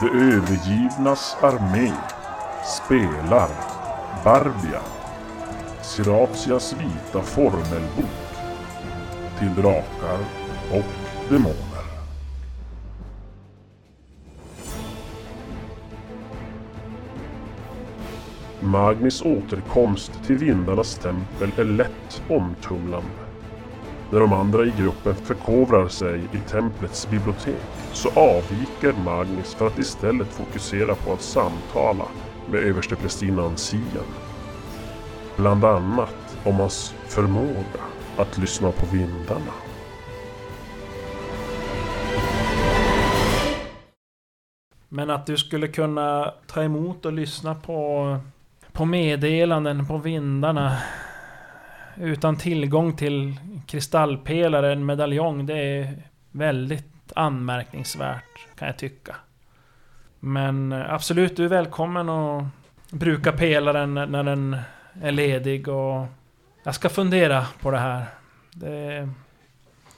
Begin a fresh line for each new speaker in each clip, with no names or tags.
De övergivnas armé spelar Barbia, Siratias vita formelbok till drakar och demoner. Magnis återkomst till vindarnas tempel är lätt omtumlande. När de andra i gruppen förkovrar sig i templets bibliotek så avviker Magnus för att istället fokusera på att samtala med översteprästinnan Sian. Bland annat om hans förmåga att lyssna på vindarna.
Men att du skulle kunna ta emot och lyssna på, på meddelanden på vindarna utan tillgång till kristallpelare, en medaljong, det är väldigt anmärkningsvärt kan jag tycka. Men eh, absolut, du är välkommen att bruka pelaren när den är ledig och jag ska fundera på det här. Det,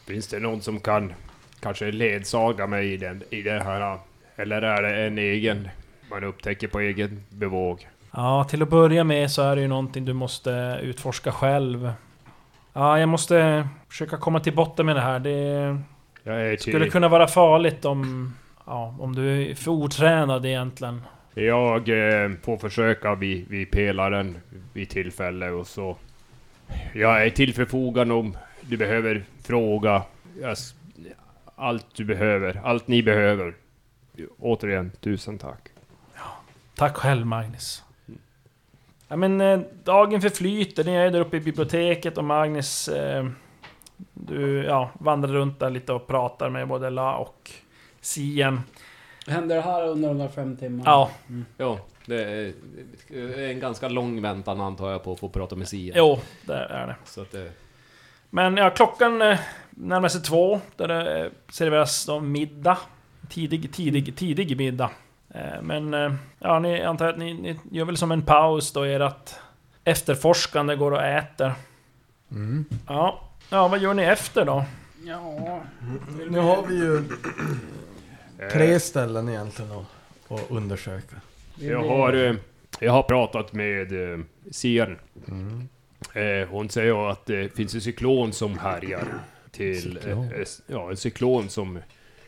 Finns det någon som kan kanske ledsaga mig i, den, i det här? Eller är det en egen man upptäcker på egen bevåg?
Ja, till att börja med så är det ju någonting du måste utforska själv. Ja, jag måste försöka komma till botten med det här. Det
Jag är till,
skulle kunna vara farligt om... Ja, om du är för otränad egentligen.
Jag eh, får försöka vid, vid pelaren vid tillfälle och så. Jag är till förfogan om du behöver fråga. Jag, s- allt du behöver, allt ni behöver. Återigen, tusen tack.
Tack själv Magnus. Ja, men eh, dagen förflyter, ni är där uppe i biblioteket och Magnus... Eh, du ja, vandrar runt där lite och pratar med både La och Sien.
Händer det här under de där fem timmarna?
Ja,
Ja, det är eh, en ganska lång väntan antar jag på att få prata med Sia.
jo, där är det.
Så att det...
Men ja, klockan eh, närmar sig två, där det eh, serveras då middag. Tidig, tidig, tidig middag. Eh, Men eh, ja, ni jag antar att ni, ni gör väl som en paus då ert efterforskande går och äter. Ja, ja vad gör ni efter då?
Ja.
Nu har vi ju
Eh.
tre ställen egentligen att, att undersöka.
vi
Jag
blir-
har, eh, jag har pratat med eh, Sian. Eh, hon säger att det finns en cyklon som härjar. Till,
Cyklon?
eh, eh, ja, en cyklon som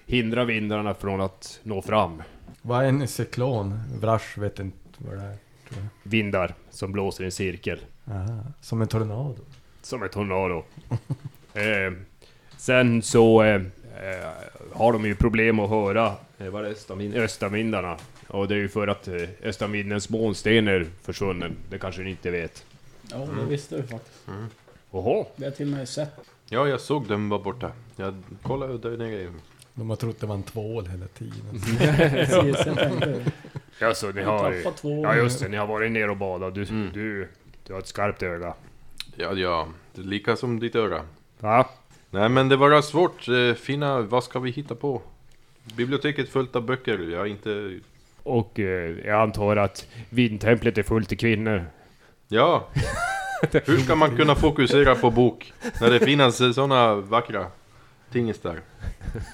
hindrar vindarna från att nå fram.
Vad är en cyklon? Vrash vet inte vad det är.
Vindar som blåser i en cirkel.
Aha. Som en tornado.
Som ett tornado. eh, sen så eh, eh, har de ju problem att höra eh, vad är det, östavind, östavindarna. Och det är ju för att eh, östavindens månsten är försvunnen. Det kanske ni inte vet.
Ja, det
Mm.
visste du faktiskt.
Oho.
Det har jag till och med sett.
Ja, jag såg den var borta. Jag kollade och dödade grejer.
De har trott det var en tvål hela tiden.
Mhm.
Precis, jag tänkte
Ja, så ni har...
tappa två.
Ja just det, ni har varit ner och badat. Du,
Mm.
du, du har ett skarpt öga.
Ja, ja. Det är lika som ditt öra.
Va?
Nej, men det var svårt. Eh, Finna, vad ska vi hitta på? Biblioteket fullt av böcker. Jag har inte...
Och eh, jag antar att vindtemplet är fullt i kvinnor.
Ja! Hur ska man kunna fokusera på bok? När det finns sådana vackra tingestar.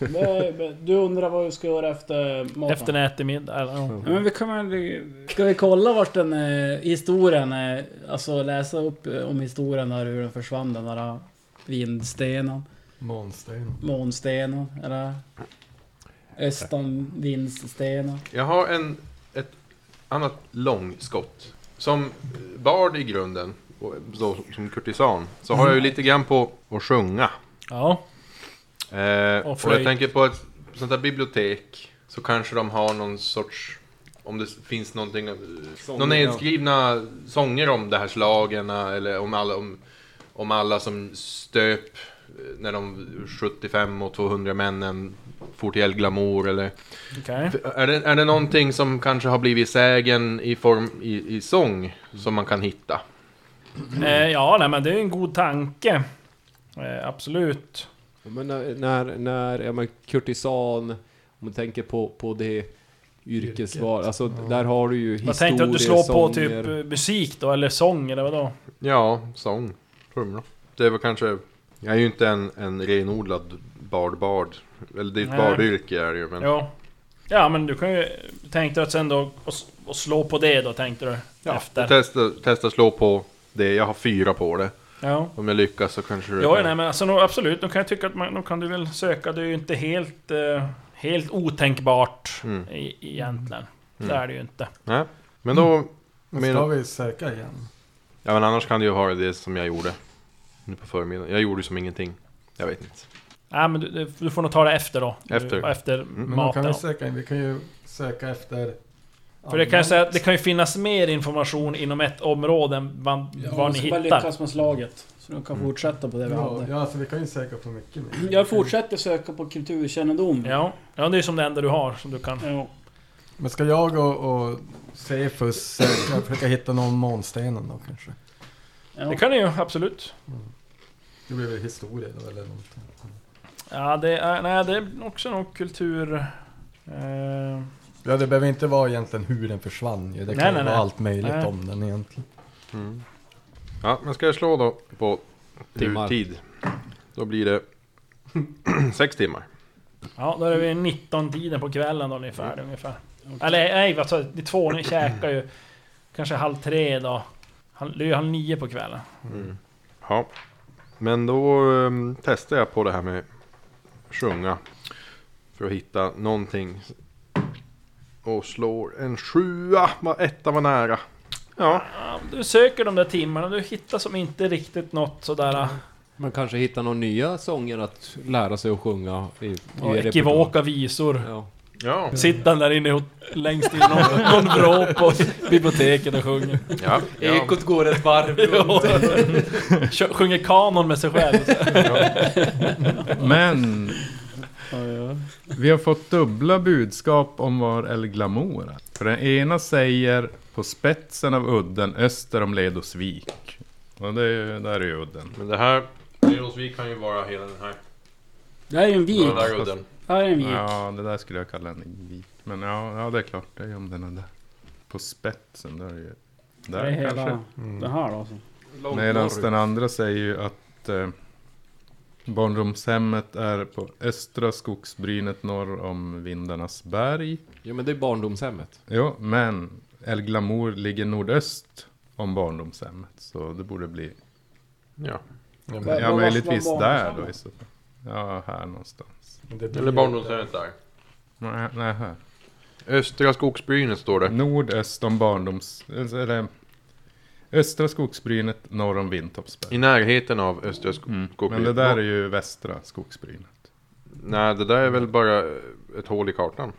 Vad- vad- Du undrar vad vi ska göra efter maten?
Efter en ätemiddag? Eller, ja.
Ja, men vi kommer... Ska vi kolla vart den eh, historien är? Alltså läsa upp eh, om historien där hur den försvann den där eh, vindstenen,
Månsten.
månstenen eller östan vindstenen.
Jag har en, ett annat långskott. Som bard i grunden, och då, som kurtisan, så har jag ju lite grann på att sjunga.
ja.
Eh,
Och
och
flöjt.
jag tänker på ett sånt här bibliotek så kanske de har någon sorts om det finns någonting, eh, någon nedskrivna sånger om det här slagen eller om alla, om, om alla som stöp eh, när de 75 och 200 männen for till El Glamour eller
Okej.
är det, är det någonting som kanske har blivit sägen i form i, i sång som man kan hitta?
Eh, ja, nej men det är en god tanke. Eh, absolut.
Men när, när, när ja, men kurtisan, om man tänker på, på det yrkesval, alltså där har du ju
Vad
historiesånger.
tänkte du att du slår på typ eh, musik då, eller sång eller vadå?
Ja, sång. Trummor. Det var kanske... Jag är ju inte en, en renodlad bardbard. Eller det är ett
Nej.
bardyrke är det ju, men...
Jo. Ja men du kan ju... Tänkte du att sen då... Och, s- och slå på det då tänkte du? Ja. Efter.
Testa, testa slå på det, jag har fyra på det.
Ja.
Om jag lyckas så kanske du...
Ja, nej men alltså nog, absolut. Då kan jag tycka att man, då kan du väl söka. Det är ju inte helt... Eh, helt otänkbart
Mm.
i, egentligen.
Mm.
Det är det ju inte.
Nej. Men då...
Men
men-
ska vi söka igen?
Ja men annars kan du ju ha det som jag gjorde. Nu på förmiddagen. Jag gjorde ju som ingenting. Jag vet inte.
Nej men du, du får nog ta det efter då.
Efter.
Du, efter
Men då
maten.
kan vi söka in. Vi kan ju söka efter...
För det kan jag säga, att det kan ju finnas mer information inom ett område än vad, vad ni
vi ska bara
hittar.
lyckas med slaget. Så de kan fortsätta på det vi
Ja,
hade.
ja, alltså vi kan ju söka på mycket mer.
Jag fortsätter söka på kulturkännedom.
Ja, ja, det är som det enda du har som du kan.
Ja.
Men ska jag och, och Cephus söka, försöka hitta någon månstenen då kanske?
Ja.
Det kan ni ju, absolut.
Det blir väl historia då eller någonting.
Ja, det är, eh, nej, det är också nog kultur... Eh,
Ja det behöver inte vara egentligen hur den försvann ju. Det kan
Nej,
ju
nej,
vara
nej.
allt möjligt
Nej.
om den egentligen.
Ja men ska jag slå då på
Timmar.
timmar. tid. Då blir det sex timmar.
ja, då är vi 19-tiden på kvällen då, ni är färdiga
Mm.
ungefär. Eller nej, vad sa jag? Ni två, ni käkar ju kanske halv tre då. Halv- Det är ju halv nio på kvällen.
Ja. Men då ehm, testar jag på det här med sjunga. För att hitta någonting. Och slår en sjua. Vad- Etta var nära. Ja.
Ja, Du söker de där timmarna, du hittar som inte riktigt något
Mm.
sådär...
Man kanske hittar några nya sånger att lära sig att sjunga i, i
Ja,
repertoar.
ekivoka visor.
Ja.
Ja.
Sitter han där inne och längst in i någon, någon vrå på biblioteket och sjunger.
ja. ja.
Ekot går ett varv runt.
Kör- Sjunger kanon med sig själv.
Men
Ja, ja.
vi har fått dubbla budskap om var El Glamour är. För den ena säger på spetsen av udden öster om Ledosvik. Och det är, ju- där är ju udden.
Men det här. Lerosvik kan ju vara hela den här.
Det här är ju en vik.
Den där udden.
Här är en vik.
Ja, det där skulle jag kalla en vik. Men ja, ja, det är klart, det är ju om den är där. På spetsen, där är ju...
det är
Där kanske.
hela det här då. Alltså.
Långt
Medan
norrut.
den andra säger ju att eh, barndomshemmet är på östra skogsbrynet norr om Vindarnas berg.
Ja men det är barndomshemmet.
Jo, men El Glamour ligger nordöst om barndomshemmet. Så det borde bli...
Ja.
Var- var-
Ja,
var-
möjligtvis
var
där
barndomshemmet?
då i så fall. Ja, här någonstans.
Eller barndomshemmet där.
Nej, nej här.
Östra skogsbrynet står det.
Nordöst om barndoms... Eller, östra skogsbrynet norr om Vintoppsberg.
I närheten av östra sko-
Mm. Men
skogsbrynet.
det där är ju västra skogsbrynet.
Nej, det där är väl bara ett hål i kartan.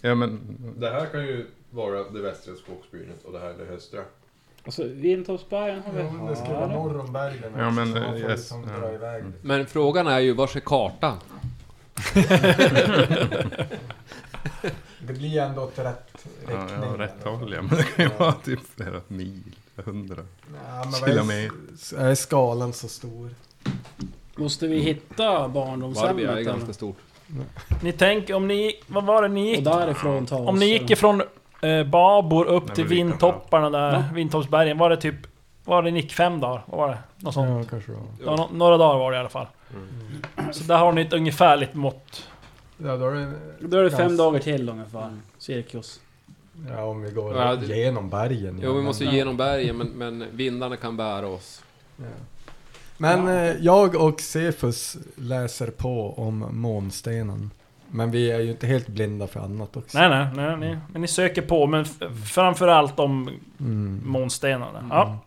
Ja, men...
Det här kan ju vara det västra skogsbrynet och det här är det östra.
Alltså, Vintorpsbergen har vi.
Ja, det skulle vara
här.
norr om bergen
Ja, men, eh,
också, så man får
yes,
liksom
ja.
dra iväg det.
Men frågan är ju, vars är kartan?
Det blir ändå åt rätt riktning.
Ja, ja, rätt
i alla fall.
håll ja. Men det kan ju vara typ flera mil, hundra.
Ja, men
Till och
vad är, s- är skalan så stor?
Måste vi hitta
Varberg är
barndomshemmet?
ganska
eller?
stort.
Ni tänker om ni... Vad var det ni
Och
gick?
därifrån tar vi
Om
oss,
ni gick
eller?
ifrån eh, Babor upp
men
till
vi kan väl-
Vintopparna där, Vintoppsbergen. Var det typ... Var det ni gick fem dagar? Vad var det? Något sånt.
Ja, kanske det var.
Det var nå- några dagar var det i alla fall. Så där har ni ett ungefärligt mått.
Ja, då är det,
Då är det fem
Gans-
dagar till ungefär. Cirkus.
Ja, om vi går
Ja, det-
genom bergen. ja,
Jo, vi
men-
måste genom bergen, men, men vindarna kan bära oss.
Ja. Men eh, jag och Cephus läser på om månstenen. Men vi är ju inte helt blinda för annat också.
Nej, nej, nej. Ni, men ni söker på, men f- framförallt om
Mm.
månstenarna. Ja.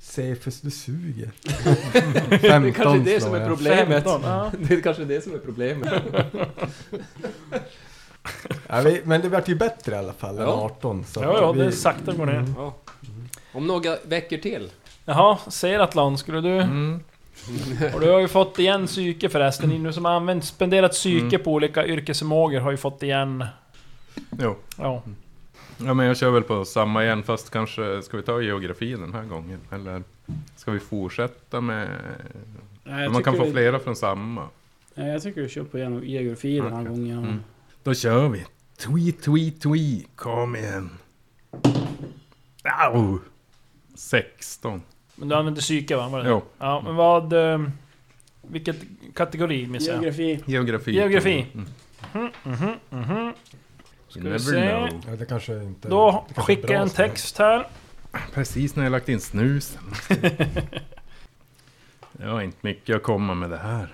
Cephus, du suger.
Det är kanske
15
det som
slår
är
jag.
problemet.
15, ja.
Det är kanske det som är problemet.
Ja, vi, men det vart ju bättre i alla fall än
Ja.
18. Så
Ja, ja,
vi,
det är sakta går ner.
Ja. Om några veckor till.
Jaha, Seratlan, skulle du... Och du har ju fått igen psyke förresten. Ni nu som har använt, spenderat psyke på olika yrkesförmågor har ju fått igen...
Jo.
Ja.
Ja, men jag kör väl på samma igen, fast kanske ska vi ta geografi den här gången? Eller ska vi fortsätta med...
Nej, jag
man kan
tycker
få
vi,
flera från samma.
Nej, Jag tycker du kör på genom geografi den här gången.
Mm. Då kör vi. Tweet, tweet, tweet. Kom igen. Au! 16.
Men du använde psyke va? Var det?
Jo.
Ja, men vad... eh, Vilket kategori missar jag?
Geografi.
Geografi.
Geografi.
Mm.
Mhm, mhm, mhm.
You
vi
never
se.
know.
Ja, det kanske inte...
Då
det kanske är
skickar
bra
jag en
spel.
text här.
Precis när jag lagt in snusen. Det var inte mycket att komma med det här.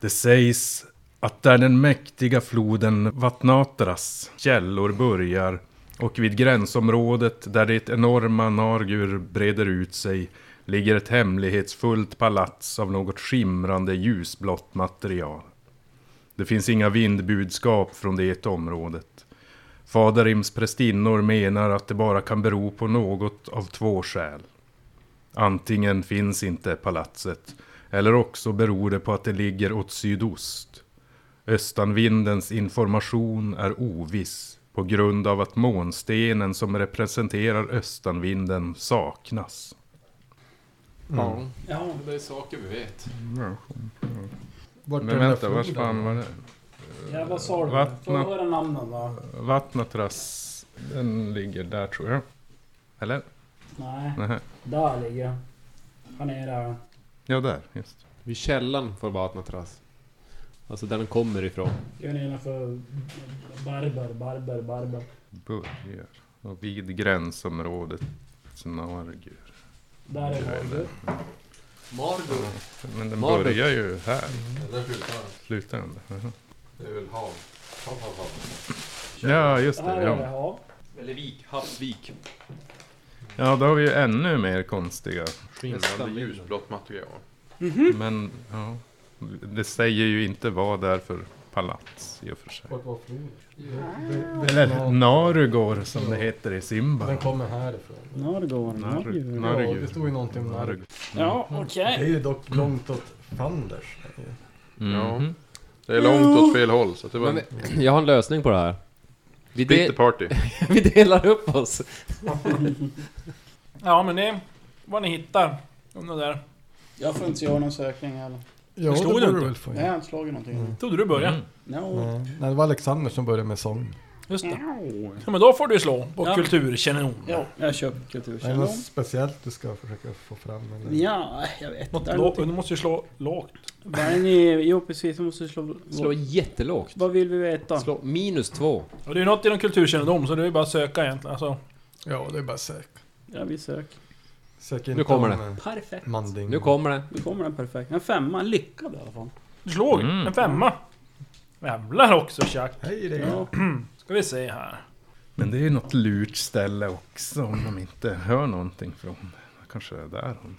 Det sägs att där den mäktiga floden Vatnatras källor börjar och vid gränsområdet där det enorma Nargur breder ut sig ligger ett hemlighetsfullt palats av något skimrande ljusblått material. Det finns inga vindbudskap från det området. Fadarims prästinnor menar att det bara kan bero på något av två skäl. Antingen finns inte palatset, eller också beror det på att det ligger åt sydost. Östanvindens information är oviss på grund av att månstenen som representerar östanvinden saknas.
Ja,
Ja.
det är saker vi vet.
Vart är
Men
den där
vänta, vars
floden?
fan var det?
Ja, vad sa du?
Vattna-
Vad var det namnen då?
Vattnatras, den ligger där tror jag. Eller?
Nej,
Nähä.
där ligger jag. Han är där.
Ja, där. Just.
Vid källan för Vatnatras. Alltså där den kommer ifrån.
Jag är nedanför Barber, Barber, Barber.
Börjar. Och vid gränsområdet. Snargur.
Där är Barber.
Margot.
Men den
Marbet.
börjar ju här.
Den slutar.
Slutar den där? Jaha.
Det är väl hav. Hav, hav, hav.
Ja, just
Här
det.
är det
Ja.
hav.
Eller vik, havsvik.
ja, då har vi ju ännu mer konstiga.
Skimrande ljusblått material.
Men ja. Det säger ju inte vad det är för palats i och för sig.
Vart var floden?
Eller Narugor som det heter i Simba.
Den kommer härifrån.
Norrgården.
Narg-
Ja,
Nargur.
det stod ju någonting om Narg.
Ja, okej.
Det är ju dock långt åt fanders.
Mhm.
Det är långt åt fel håll, så det var
Men
en
vi- jag har en lösning på det här. Vi,
split the
de
party.
vi delar upp oss.
Ja men det är vad ni hittar. Om det där.
Jag får inte göra någon sökning heller.
Ja,
Förstod du
det borde
inte?
du väl få
Nej, jag
in.
har inte slagit någonting.
Mm.
Trodde du började?
Mm.
No.
Ja. Nej, det var Alexander som började med sång.
Just det. Ja, men då får du slå på
Ja.
kulturkännedom.
Ja, jag köper
Är det något
kulturkännedom.
speciellt du ska försöka få fram? Eller?
Ja, jag vet
Något
inte. Är det
lå-
någonting?
du måste ju slå lågt.
Vad är ni? Jo, precis. Vi måste slå...
Slå jättelågt.
Vad vill vi veta?
Slå minus två.
Och det är ju något inom kulturkännedom så det är ju bara att söka egentligen. Alltså,
Ja, det är bara sök.
Ja, vi söker.
Sök inte
Nu kommer
om,
det.
eh,
Perfekt.
Manding.
Nu kommer det.
Nu kommer den perfekt. En femma, en lyckad i alla fall.
du slog
Mm.
en femma. Jävlar också Chuck.
Hej det.
Ja.
Ska vi se här.
Men det är ju något lurt ställe också om de inte hör någonting från det. Kanske det är där hon...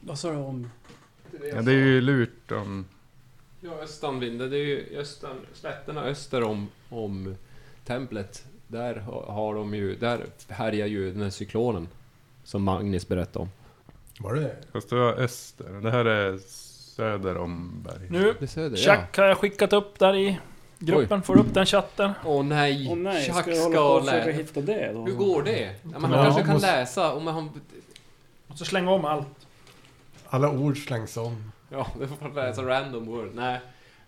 Vad sa du om?
Ja, det är ju lurt om...
Ja, Östanvinden, det är ju östan, slätterna öster om, om templet. Där ha- har de ju, där härjar ju den här cyklonen. Som Magnus berättade om.
Var det
Fast det var öster. Det här är söder om berget.
Nu
Det är söder, ja.
Chuck har jag skickat upp där i gruppen. Får upp den chatten.
Åh nej!
Åh nej,
Chuck
ska jag hålla på och
lä-
försöka hitta det då?
Hur går det? Ja, men han
Ja,
kanske kan
måste-
läsa om han...
Måste slänga om allt.
Alla ord slängs om.
Ja, det får han läsa random word. Nej.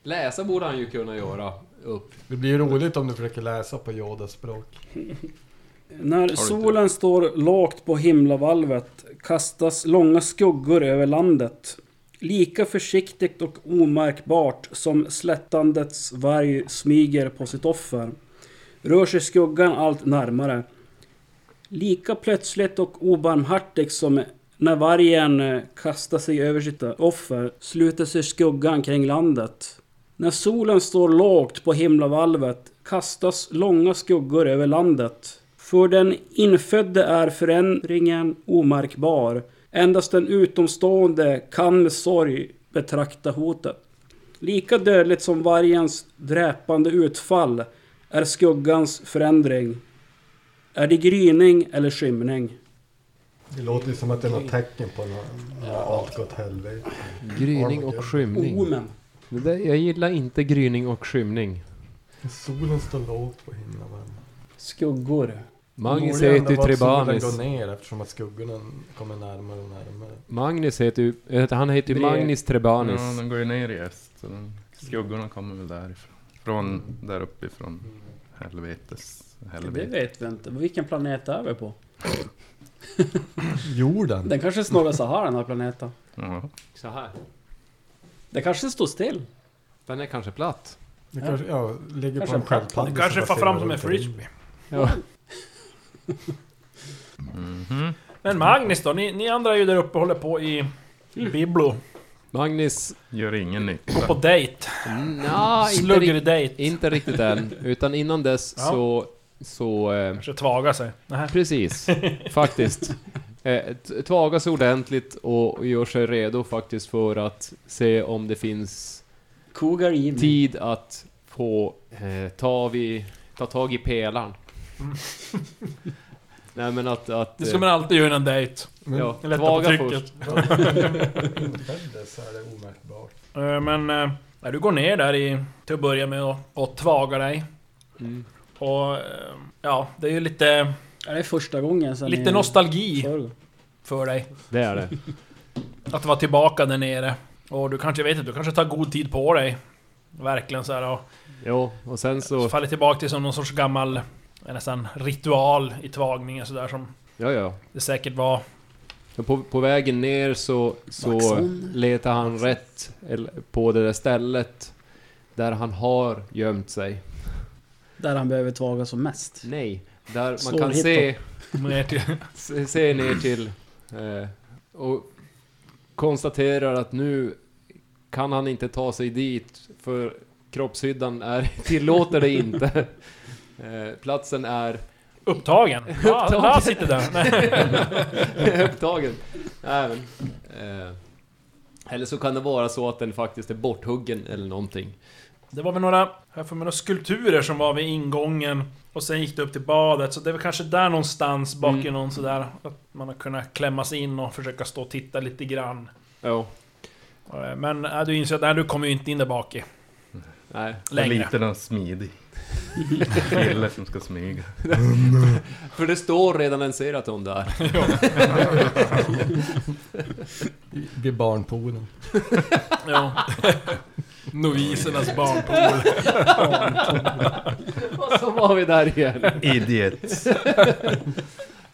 Läsa borde han ju kunna göra upp.
Det blir ju roligt om du försöker läsa på Yodas språk.
När solen står lågt på himlavalvet kastas långa skuggor över landet. Lika försiktigt och omärkbart som slättandets varg smyger på sitt offer rör sig skuggan allt närmare. Lika plötsligt och obarmhärtigt som när vargen eh, kastar sig över sitt offer sluter sig skuggan kring landet. När solen står lågt på himlavalvet kastas långa skuggor över landet. För den infödde är förändringen omärkbar. Endast den utomstående kan med sorg betrakta hotet. Lika dödligt som vargens dräpande utfall är skuggans förändring. Är det gryning eller skymning?
Det låter ju som att det är något tecken på något. Ja. Allt gått helvete.
Gryning och skymning.
Omen.
Det där, jag gillar inte gryning och skymning.
Solen står lågt på himlen.
Skuggor.
Magnus
Det borde
heter
ändå
ju
vara att solen
Trebanis.
går ner eftersom att skuggorna kommer närmare och närmare.
Magnus heter ju... eh, Han heter ju
Det-
Magnus Trebanis.
Ja, den går ju ner i öst. Så den, skuggorna kommer väl därifrån. Från där uppifrån. Helvetes.
Det
Helvete.
vet vi inte. Vilken planet är vi på?
Jorden.
Den kanske snurrar så här den här planeten.
Ja.
Så här.
Det kanske står still.
Den är kanske platt.
Det kanske, ja, ligger
Kanske
på en
en platt-
sköldpadda. som
Kanske far
passerar
fram som en
runt runt.
frisbee.
Ja.
Men Magnus då? Ni, ni andra är ju där uppe och håller på i
Mm.
Biblo.
Magnus?
Gör ingen nytta.
På dejt.
Nja, Mm, inte, rikt-
Slugger-dejt.
inte riktigt än. Utan innan dess
Ja.
så... så eh,
Kanske tvaga sig. Nähä.
Precis, faktiskt. Eh, t- Tvagas ordentligt och gör sig redo faktiskt för att se om det finns
Kogar
Mm.
i
tid att få eh, ta, vid, ta tag i pelaren. Nej men att... att
Mm. Det ska man alltid göra innan dejt.
eh, ja,
Lätta på
tvaga
trycket.
först.
Väldigt så är det omärkbart.
Eh, Men... eh, nej, du går ner där i, till att börja med och, och tvagar dig.
Mm.
Och... eh, Ja, det är ju lite...
Är det första gången sen
Lite
i-
Mm.
nostalgi
förrgår?
för dig.
Det är det.
Att vara tillbaka där nere. Och du kanske, jag vet inte, du kanske tar god tid på dig. Verkligen så här och
Jo, och sen så...
så faller tillbaka till som någon sorts gammal... eh, Nästan ritual i tvagningen sådär som
Ja, ja.
det säkert var.
Men eh, På, på vägen ner så, så
Maxon.
letar han rätt eller, på det där stället där han har gömt sig.
Där han behöver tvaga som mest.
Nej, där man
Svår
kan
hitta.
se
Ner till,
Se- ser ner till eh, och konstaterar att nu kan han inte ta sig dit för kroppshyddan är, tillåter det inte. Eh, platsen är
upptagen. Ja,
Upptagen.
ja, sitter där. Nej.
upptagen. Nej, men, eh, eller så kan det vara så att den faktiskt är borthuggen eller någonting.
Det var väl några, här för mig, några skulpturer som var vid ingången och sen gick det upp till badet, så det är väl kanske där någonstans bak i
Mm.
någon sådär att man har kunnat klämma sig in och försöka stå och titta lite grann.
Ja,
Eh, Men äh, du inser att nej, du kommer ju inte in där bak i
nej.
En
längre.
liten och smidig kille som ska smyga.
För det står redan en seraton där.
Vid barnpoolen.
Ja. Novisernas barnpool.
Och så var vi där igen.
Idiot.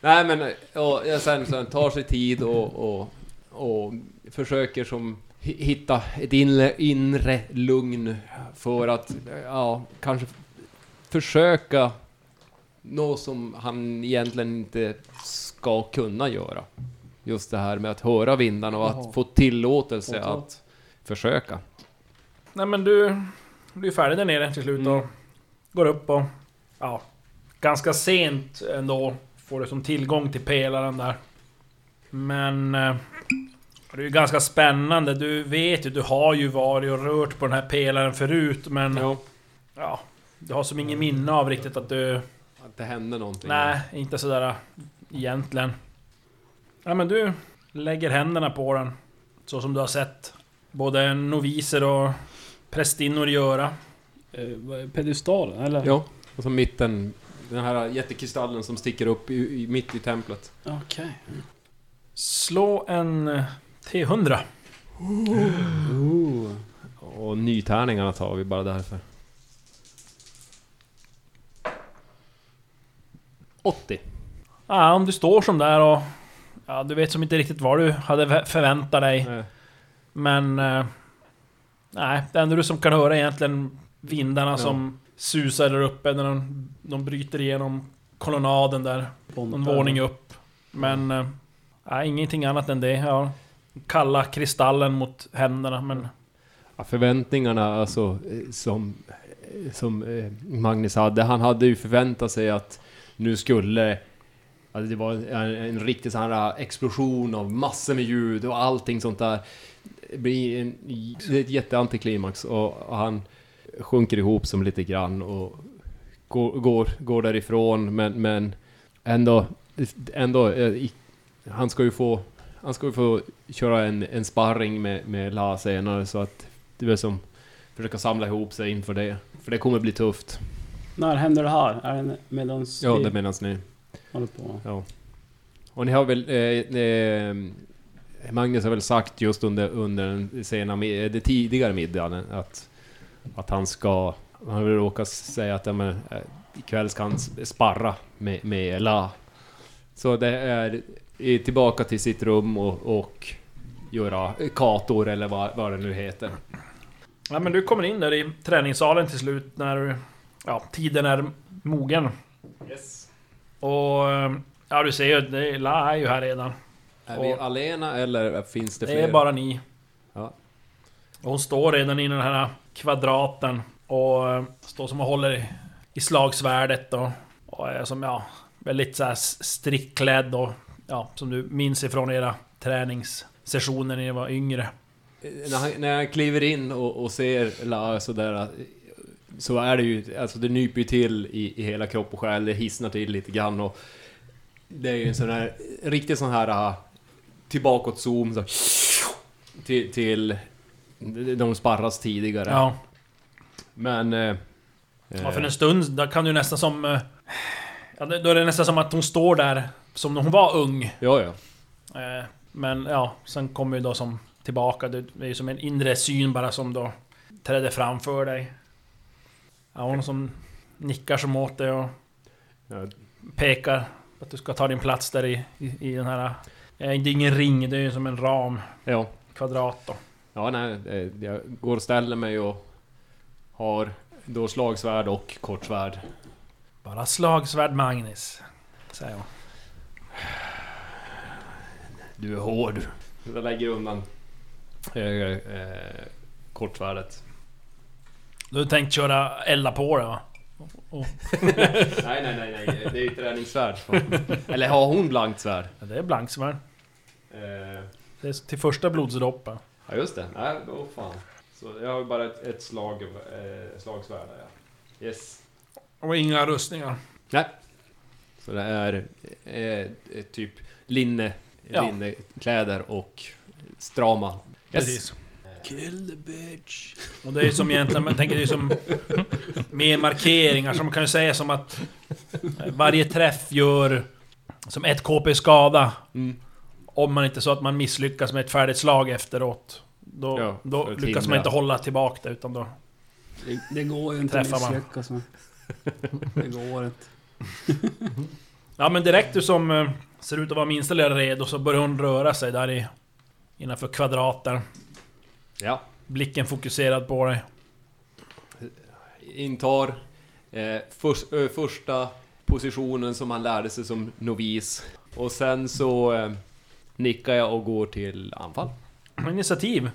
Nej men, och jag sen, sen tar sig tid och, och, och försöker som hi- hitta ett inre, inre lugn för att, ja, kanske försöka något som han egentligen inte ska kunna göra. Just det här med att höra vindarna och
Jaha.
att få tillåtelse
Åtal.
att försöka.
Nej men du, du är färdig där nere till slut
Mm.
och går upp och... Ja, ganska sent ändå får du som tillgång till pelaren där. Men... eh, Det är ju ganska spännande. Du vet ju, du har ju varit och rört på den här pelaren förut men...
Ja.
Ja, du har som ingen minne av riktigt att du...
Att det hände någonting.
Nej, inte sådär äh, egentligen. Ja men du lägger händerna på den. Så som du har sett både noviser och prästinnor göra.
Eh, vad är Pedestalen, eller?
Ja, och så mitten, den här jättekristallen som sticker upp i, i, mitt i templet.
Okej.
Slå en eh, T100.
Ooh. Och nytärningarna tar vi bara därför. 80.
Ja, om du står som där och... Ja, du vet som inte riktigt vad du hade vä- förväntat dig.
Eh,
Men... eh, Nej, det enda du som kan höra är egentligen vindarna
Ja.
som susar där uppe när de, de bryter igenom kolonaden där.
Bomber.
Någon våning upp. Men... eh, Nej, ingenting annat än det. Ja, kalla kristallen mot händerna, men...
Ja, förväntningarna alltså eh, som, eh, som eh, Magnus hade. Han hade ju förväntat sig att nu skulle Alltså det var en, en riktig sån här explosion av massor med ljud och allting sånt där. Det blir en, det är ett jätteantiklimax och, och han sjunker ihop som lite grann och går, går, går därifrån men, men ändå, ändå eh, i, han ska ju få han ska ju få köra en, en sparring med, med La senare så att det är som försöka samla ihop sig inför det. För det kommer bli tufft.
När händer det här? Är det medans
Ja,
vi
det menas ni.
håller på?
Och ni har väl... Eh, eh, Magnus har väl sagt just under, under den sena, mi- eh, det tidigare middagen att, att han ska... Han vill råka säga att ja, men, eh, ikväll ska han s- sparra med, med La. Så det är eh, tillbaka till sitt rum och, och göra kator eller vad, vad det nu heter.
Ja, men du kommer in där i träningssalen till slut när ja, tiden är mogen.
Yes.
Och eh, ja, du ser ju, det är- La är ju här redan.
Är vi
Och-
alena eller finns det
Det
fler?
är, bara ni.
Ja.
Och hon står redan i den här kvadraten och eh, står som och håller i- i slagsvärdet och, och är som ja, väldigt så här s- strikt klädd och ja, som du minns ifrån era träningssessioner när ni var yngre.
När han, när han kliver in och, och ser La sådär Så är det ju, alltså det nyper ju till i, i hela kropp och själ, det hissnar till lite grann och Det är ju en sån här, riktig sån här uh, Tillbakåt-zoom så, till, till De sparras tidigare
Ja,
Men... eh,
ja, för
eh,
en stund där kan du nästan som... eh, Ja, då är det nästan som att hon står där som när hon var ung.
Ja, ja.
Eh, Men ja, sen kommer ju då som tillbaka, det det är ju som en inre syn bara som då träder framför dig. Ja, hon som nickar som åt dig och
Ja.
pekar att du ska ta din plats där i, i, i den här... eh, Det är ingen ring, det är ju som en ram,
ja.
kvadrat då.
Ja, nej, eh, jag går och ställer mig och har då slagsvärd och kortsvärd.
Bara slagsvärd Magnus, säger hon.
Du är hård. Jag lägger undan eh, eh, kortsvärdet.
Du har tänkt köra elda på det va?
nej, nej, nej, nej, det är ju träningssvärd. Eller har hon blankt svärd?
Ja, det är blanksvärd.
Eh,
Det är till första blodsdroppen.
ja, just det. Nej, då fan. Så jag har ju bara ett, ett slag, eh, slagsvärd där, ja. Yes.
Och inga rustningar.
Så det är eh, eh, typ linne,
Ja.
linnekläder och strama.
Precis. Och det är ju som egentligen, man tänker det är som mer markeringar som man kan ju säga som att varje träff gör som ett KP skada.
Mm.
Om man inte så att man misslyckas med ett färdigt slag efteråt. Då,
Ja,
då
för att
lyckas man
hindra.
inte hålla tillbaka det utan då...
Det, det går ju inte att
Träffar man.
misslyckas med. Det går inte.
Ja men direkt du som eh, ser ut att vara minsta lilla redo så börjar hon röra sig där i... Innanför kvadraten.
Ja.
Blicken fokuserad på dig.
intar eh, förs- ö, första positionen som han lärde sig som novis. Och sen så eh, nickar jag och går till anfall.
Initiativ.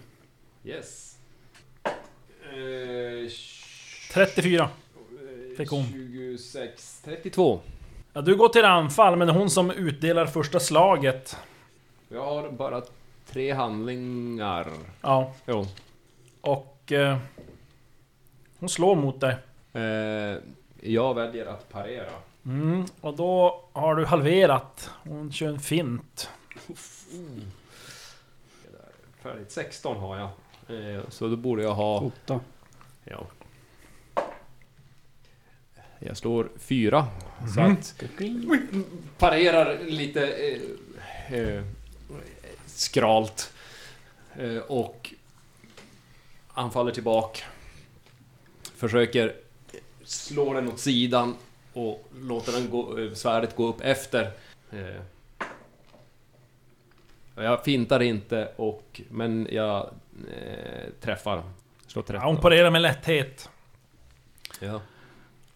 Yes. Eh,
34. Fick hon.
26, 32.
Ja, du går till anfall men det är hon som utdelar första slaget.
Jag har bara tre handlingar.
Ja.
Jo.
Och... Eh, hon slår mot dig.
Eh, jag väljer att parera.
Mm, och då har du halverat. Hon kör en fint.
Färdigt 16 har jag. Eh, så då borde jag ha...
Åtta.
Ja. Jag slår fyra. Så att... Parerar lite eh, eh, skralt. Eh, och anfaller tillbaka. Försöker slå den åt sidan och låter den gå, eh, svärdet gå upp efter. Eh, jag fintar inte och... Men jag eh, träffar. Slår
Ja,
13.
hon parerar med lätthet.
Ja.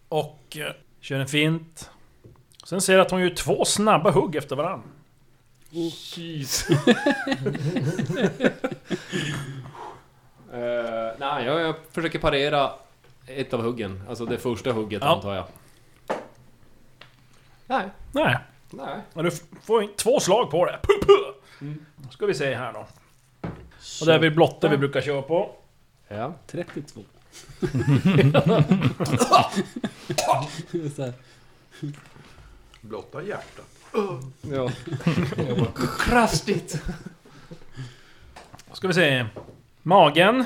Och... Eh, kör en fint. Sen ser du att hon gör två snabba hugg efter varandra.
Jeez. Eh, nej, jag, jag försöker parera ett av huggen. Alltså det första hugget
Ja.
antar jag. Nej,
Nej.
nej. Mm.
Men du f- får in två slag på det. Puh, puh. Då ska vi se här då. Och det är vi blotta vi brukar köra på.
Ja.
32. Så här.
Blotta hjärtat.
ja. Krastigt!
ska vi se. Magen.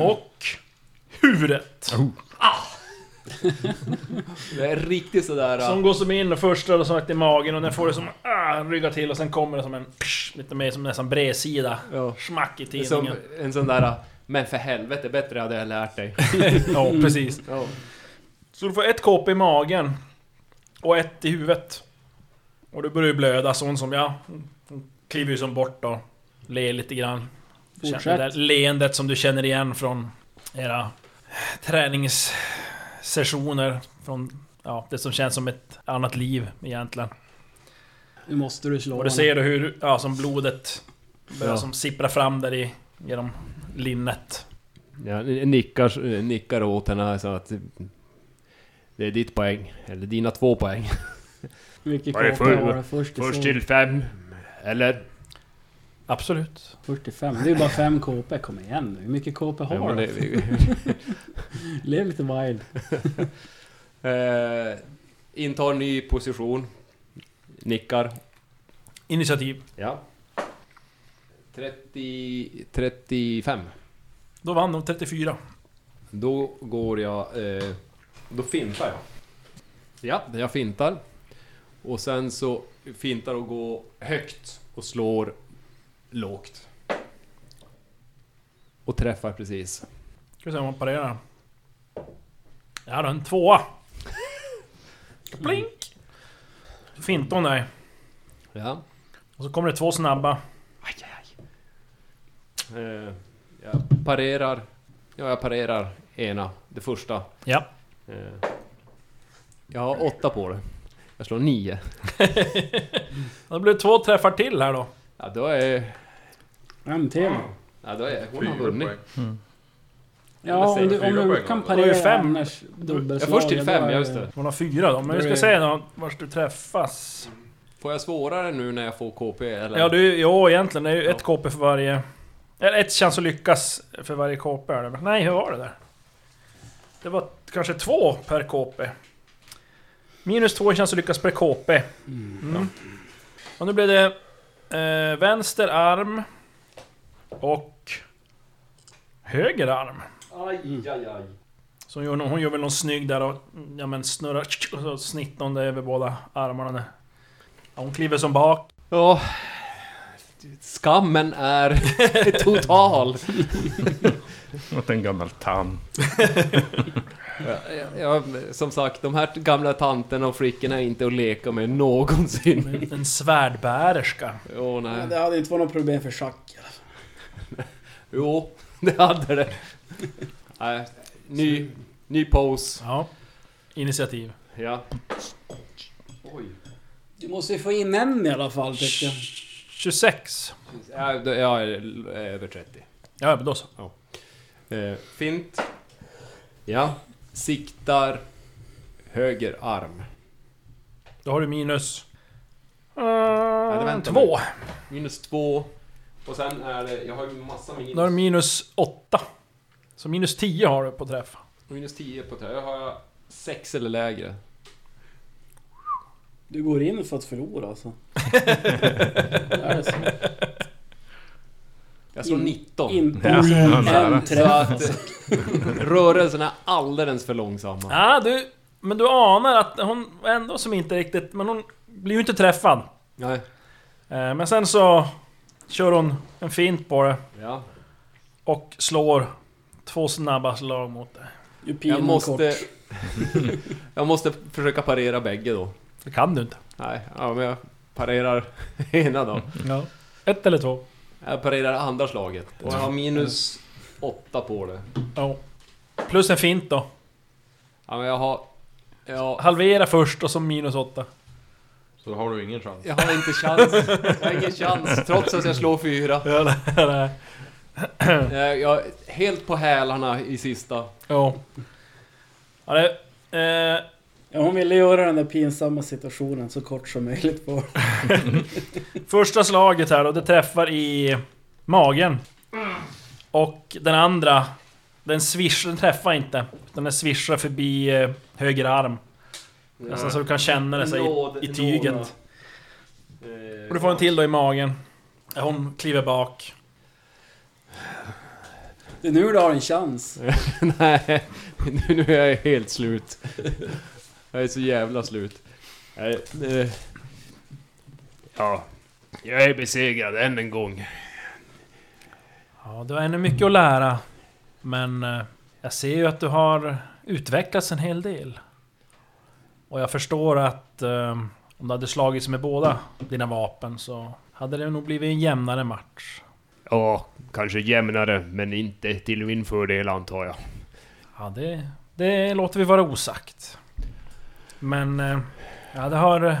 Och huvudet.
Det är riktigt sådär... eh,
Som går som in och första då som sagt i magen och den får det som ah, rygga till och sen kommer det som en psh, lite mer som nästan bredsida.
ja.
Smack i
Som
tidningen.
en sån där... eh, Men för helvete, bättre hade jag lärt dig.
Ja, precis.
Ja.
Så du får ett KP i magen. Och ett i huvudet. Och du börjar ju blöda, så hon som jag. Hon kliver ju som bort då. ler lite grann.
Fortsätt.
Känner Det där leendet som du känner igen från era träningssessioner. Från ja, det som känns som ett annat liv egentligen.
Nu måste du slå
Och du
honom.
ser du hur ja, som blodet börjar
Ja.
som sippra fram där i, genom linnet.
Ja, nickar, nickar åt henne så att... eh, Det är ditt poäng. Eller dina två poäng.
Vilket
Vad är
kaka
full?
var det? Först till,
Först
så-
till fem. Eller?
Absolut.
först till fem. Det är ju bara fem KP. Kom igen nu. Hur mycket KP har
men
du?
det- vi-
Lev lite wild.
eh, intar ny position. Nickar.
Initiativ.
Ja. 30, 35.
Då vann de 34.
Då går jag... Eh, då fintar jag. Ja, jag fintar. Och sen så fintar och går högt och slår lågt. Och träffar precis.
Ska vi se om man parerar. Ja, då, en tvåa. Blink! Finton där.
Ja.
Och så kommer det två snabba.
Eh, jag parerar. Ja, jag parerar ena. Det första.
Ja.
Eh, jag har åtta på det. Jag slår nio.
Då blir det två träffar till här då.
Ja, då är...
MTV.
Ja, då är hon har
Fyra
vunnit.
poäng.
Ja, om du,
Fyra
om du
poäng
kan
alltså.
Det var
parera
ju fem.
annars
Jag
dubbelslag.
först till
då
fem,
är
ja just det.
Hon har fyra då, men vi
Då
ska
är-
se då vart du träffas.
Får jag svårare nu när jag får KP eller?
Ja, du, jo egentligen. Det är ju
Ja.
ett KP för varje... Eller ett chans att lyckas för varje KP är det väl? Nej, hur var det där? Det var kanske två per KP. Minus två i chans att lyckas per KP. Mm. Och nu blir det eh, vänster arm och höger arm.
Aj, aj, aj.
Så hon gör, någon, hon gör väl någon snygg där och ja, men snurrar och så snittar hon det över båda armarna. Där. Ja, hon kliver som bak
Ja. Skammen är total.
Åt en gammal tant.
Jag, jag, som sagt, de här gamla tanterna och flickorna är inte att leka med någonsin.
En- En svärdbärerska.
Åh
Ja,
nej.
Det hade inte varit något problem för schack.
Jo, det hade det. Nej, ny, ny pose.
Ja. Initiativ.
Ja.
Du måste ju få in en i alla fall tycker jag.
26.
Ja, då- Jag är över 30.
Ja, men då så.
Eh, fint. Ja. Siktar höger arm.
Då har du minus...
det väntar
två.
Minus två. Och sen är det... Jag har ju massa minus.
Då har du minus åtta. Så minus 10 har du på träff.
Minus 10 på trä. Jag har sex eller lägre.
Du går in för att förlora alltså. är det så?
Jag slår
In-
19.
Inte
Ja, han är
en
det.
Så
träff.
att rörelserna är alldeles för långsamma.
Ja, du... Men du anar att hon ändå som inte riktigt... Men hon blir ju inte träffad.
Nej.
Eh, Men sen så kör hon en fint på det
Ja.
och slår två snabba slag mot det.
Ju pilen
Jag
är
måste...
kort.
jag måste försöka parera bägge då.
Det kan du inte.
Nej, ja, men jag parerar ena då.
Ja. Ett eller två.
Jag parerar andra slaget. Och jag har minus åtta på det.
Ja. Plus en fint då.
Ja, men jag har... Jag,
Halvera först och så minus åtta.
Så har du ingen chans.
jag har inte chans. Jag har ingen chans, trots att jag slår fyra.
Ja, det är det.
Jag jag är helt på hälarna i sista.
Ja. Ja, det... Eh,
Ja, hon ville göra den där pinsamma situationen så kort som möjligt på
första slaget här då, det träffar i magen. Och den andra, den svischar, den träffar inte. Utan den svischar förbi eh, höger arm. Nästan så du kan känna det så här i, i tyget. Och du får en till då i magen. Ja, Hon kliver bak.
Det är nu du har en chans.
Nej, nu, nu är jag helt slut. Jag är så jävla slut. Nej, eh,
Ja. Jag är besegrad än en gång.
Ja, du har ännu mycket att lära. Men eh, jag ser ju att du har utvecklats en hel del. Och jag förstår att eh, om du hade slagits med båda dina vapen så hade det nog blivit en jämnare match.
Ja, kanske jämnare, men inte till min fördel antar jag.
Ja, det, det låter vi vara osagt. Men... eh, Ja, det har... eh,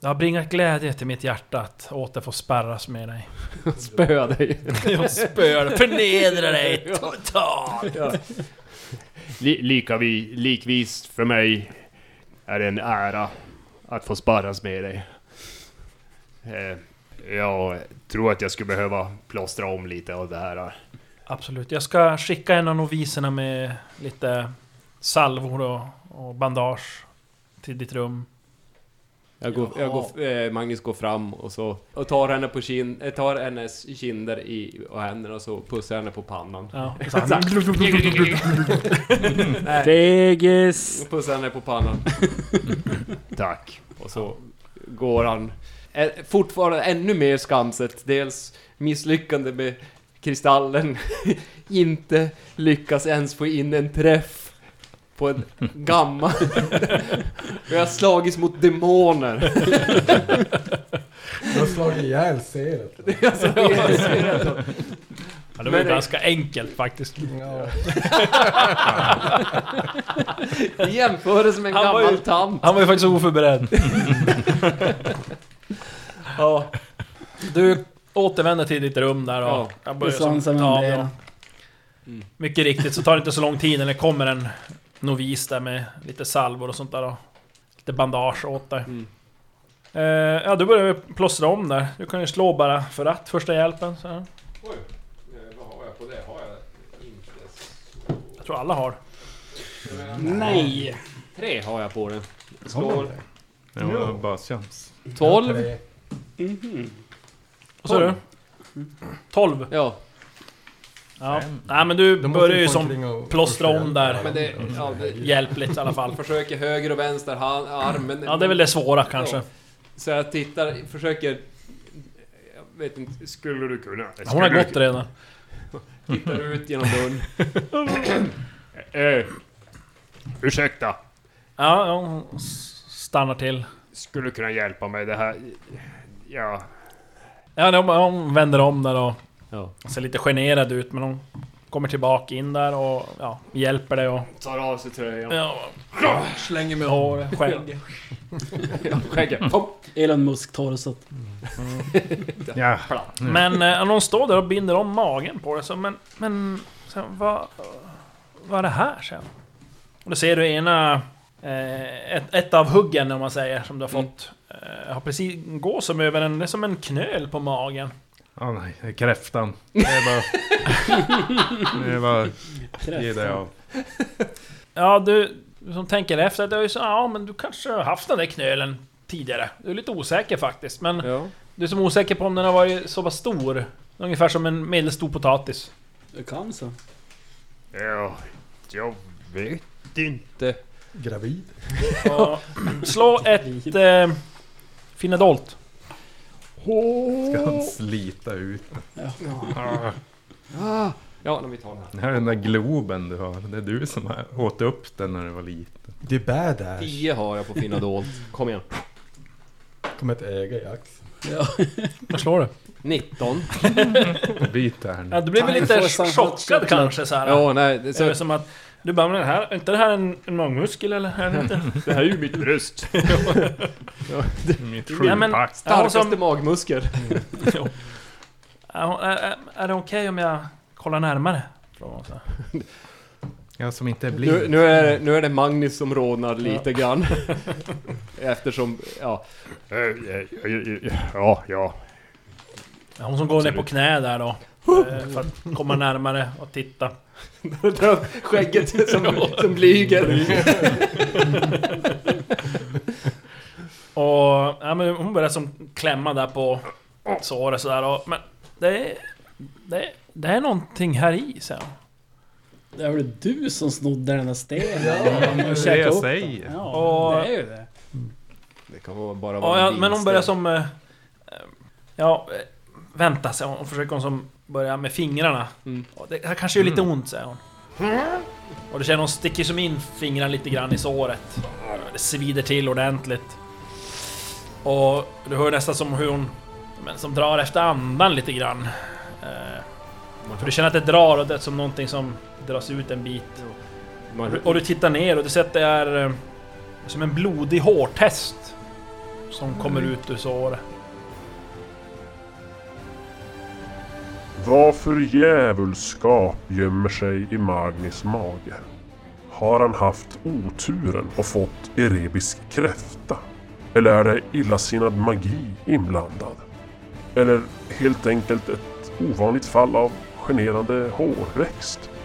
Det har bringat glädje till mitt hjärta att åter få sparras med dig.
Spöa dig.
Jag spöar dig, förnedrar dig totalt!
Li- lika vi, likvis för mig är det en ära att få sparras med dig. Eh, jag tror att jag skulle behöva plåstra om lite av det här.
Absolut, jag ska skicka en av noviserna med lite salvor och, och bandage till ditt rum.
Jag går, jag går, eh, Magnus går fram och så och tar henne på kin, eh, tar hennes kinder i, och händerna och så pussar henne på pannan.
Ja,
Så
Mm.
här. Nej,
Fegis!
pussar henne på pannan.
Tack.
Och så går han eh, fortfarande ännu mer skamset. Dels misslyckande med kristallen. Inte lyckas ens få in en träff på en gammal. Vi har slagits mot demoner.
Du har slagit ihjäl seret.
Alltså, det är så jävla-
ja det var ju
Men det-
ganska enkelt faktiskt.
Ja.
I jämförelse med en
Han var
gammal
ju-
tant.
Han var ju faktiskt oförberedd. ja. Du återvänder till ditt rum där och...
Ja.
jag
Och
börjar som-
svansen
ja,
under
ja.
er.
Mycket riktigt så tar det inte så lång tid när det kommer en novis där med lite salvor och sånt där och lite bandage åt dig.
Mm.
Eh, ja, du börjar vi plåstra om där. Du kan ju slå bara för att, första hjälpen. Så här.
Oj, eh, vad har jag på det? Har jag inte?
Jag tror alla har.
Nej!
Tre har jag på den. Slår
Det var bara chans.
tolv.
Tre.
Vad sa du?
Tolv.
12?
Ja,
Ja. Nej men du
Då måste
börjar
vi
ju
få
som
omkring och-
plåstra
och-
om där.
men det... Ja, det
hjälpligt i alla fall.
försöker höger och vänster hand, armen.
Ja, det är väl det svåra kanske.
Så jag tittar, försöker... Jag vet inte,
Skulle du kunna?
Hon har gått redan.
tittar ut genom dörren.
Eh, ursäkta.
Ja, ja, hon s- stannar till.
Skulle du kunna hjälpa mig? Det här... Ja...
Ja, de, de vänder om där och
Ja.
ser lite generad ut men hon kommer tillbaka in där och ja, hjälper dig och...
Tar av sig tröjan.
Ja, slänger med hår, skägg.
Skägget. Pom!
Elon Musk tar oss att...
Ja,
Men eh, hon står där och binder om magen på det så men... Men... Så, vad... Vad är det här sen? Och då ser du ena... Eh, ett, ett av huggen om man säger som du har fått. Eh, har precis... Går som över en... Det är som en knöl på magen.
ah, nej, det är kräftan. Det är bara... det är bara... Ge dig av.
Ja, du som tänker efter, det är ju så, ja men du kanske har haft den där knölen tidigare. Du är lite osäker faktiskt, men
Ja.
du är som osäker på om den har varit så pass stor. Ungefär som en medelstor potatis.
Det kan så.
Ja, jag vet inte.
Gravid.
Och slå ett... Eh, finna dolt.
Ska han slita ut? Ah,
Ah. Ja, men vi tar den här.
det här är den där globen du har. Det är du som har- åt upp den när du var liten.
Du är badass.
Tio har jag på fina dolt. Kom igen.
Kommer ett äga i axeln.
Vad slår du?
19.
Byt här nu.
Ja, du blir väl
Fan,
lite
jag får samma
chockad
choklad.
kanske så här.
Ja, nej. det-
Det är
Så,
väl som att... Du bara, men det här, är inte det här en, en magmuskel eller? Är det inte?
Det här är ju mitt bröst.
Mitt
Ja, men-
sjupack.
Ja, och
starkaste
som-
magmuskel.
Ja, hon- är, är, är det okej om jag kollar närmare? Frågar hon så här.
Jag som inte är blind.
Nu, nu, är det, nu är det Magnus som rodnar lite grann. Eftersom, ja.
Eh, eh, eh, ja, ja.
Ja, Hon som går ner på
Absolut.
knä där då. eh, För att komma närmare och titta.
Skägget som, som blyger.
Och ja, men hon börjar som klämma där på såret sådär och... Men det är... Det är, det är någonting här i sen.
Det är väl du som snodde den där stenen? Ja,
det är det jag säger.
Ja,
Och-
det är ju det.
Det kan vara- bara
Ja,
vara
ja,
en
men hon börjar
vinst.
som... eh, eh, Ja, eh, vänta säger hon. Hon försöker hon som börja med fingrarna.
Mm.
Och det här kanske gör lite ont säger hon. Och du känner hon sticker som in fingrarna lite grann i såret. Det svider till ordentligt. Och du hör nästan som hur hon Men som drar efter andan lite grann. Eh, För du känner att det drar och det är som någonting som dras ut en bit. Och du-
Man,
Och du tittar ner och du ser att det är eh, som en blodig hårtest som kommer ut ur såret.
Vad för djävulskap gömmer sig i Magnis mage? Har han haft oturen och fått erebisk kräfta? Eller är det illasinnad magi inblandad? Eller helt enkelt ett ovanligt fall av generande hårväxt?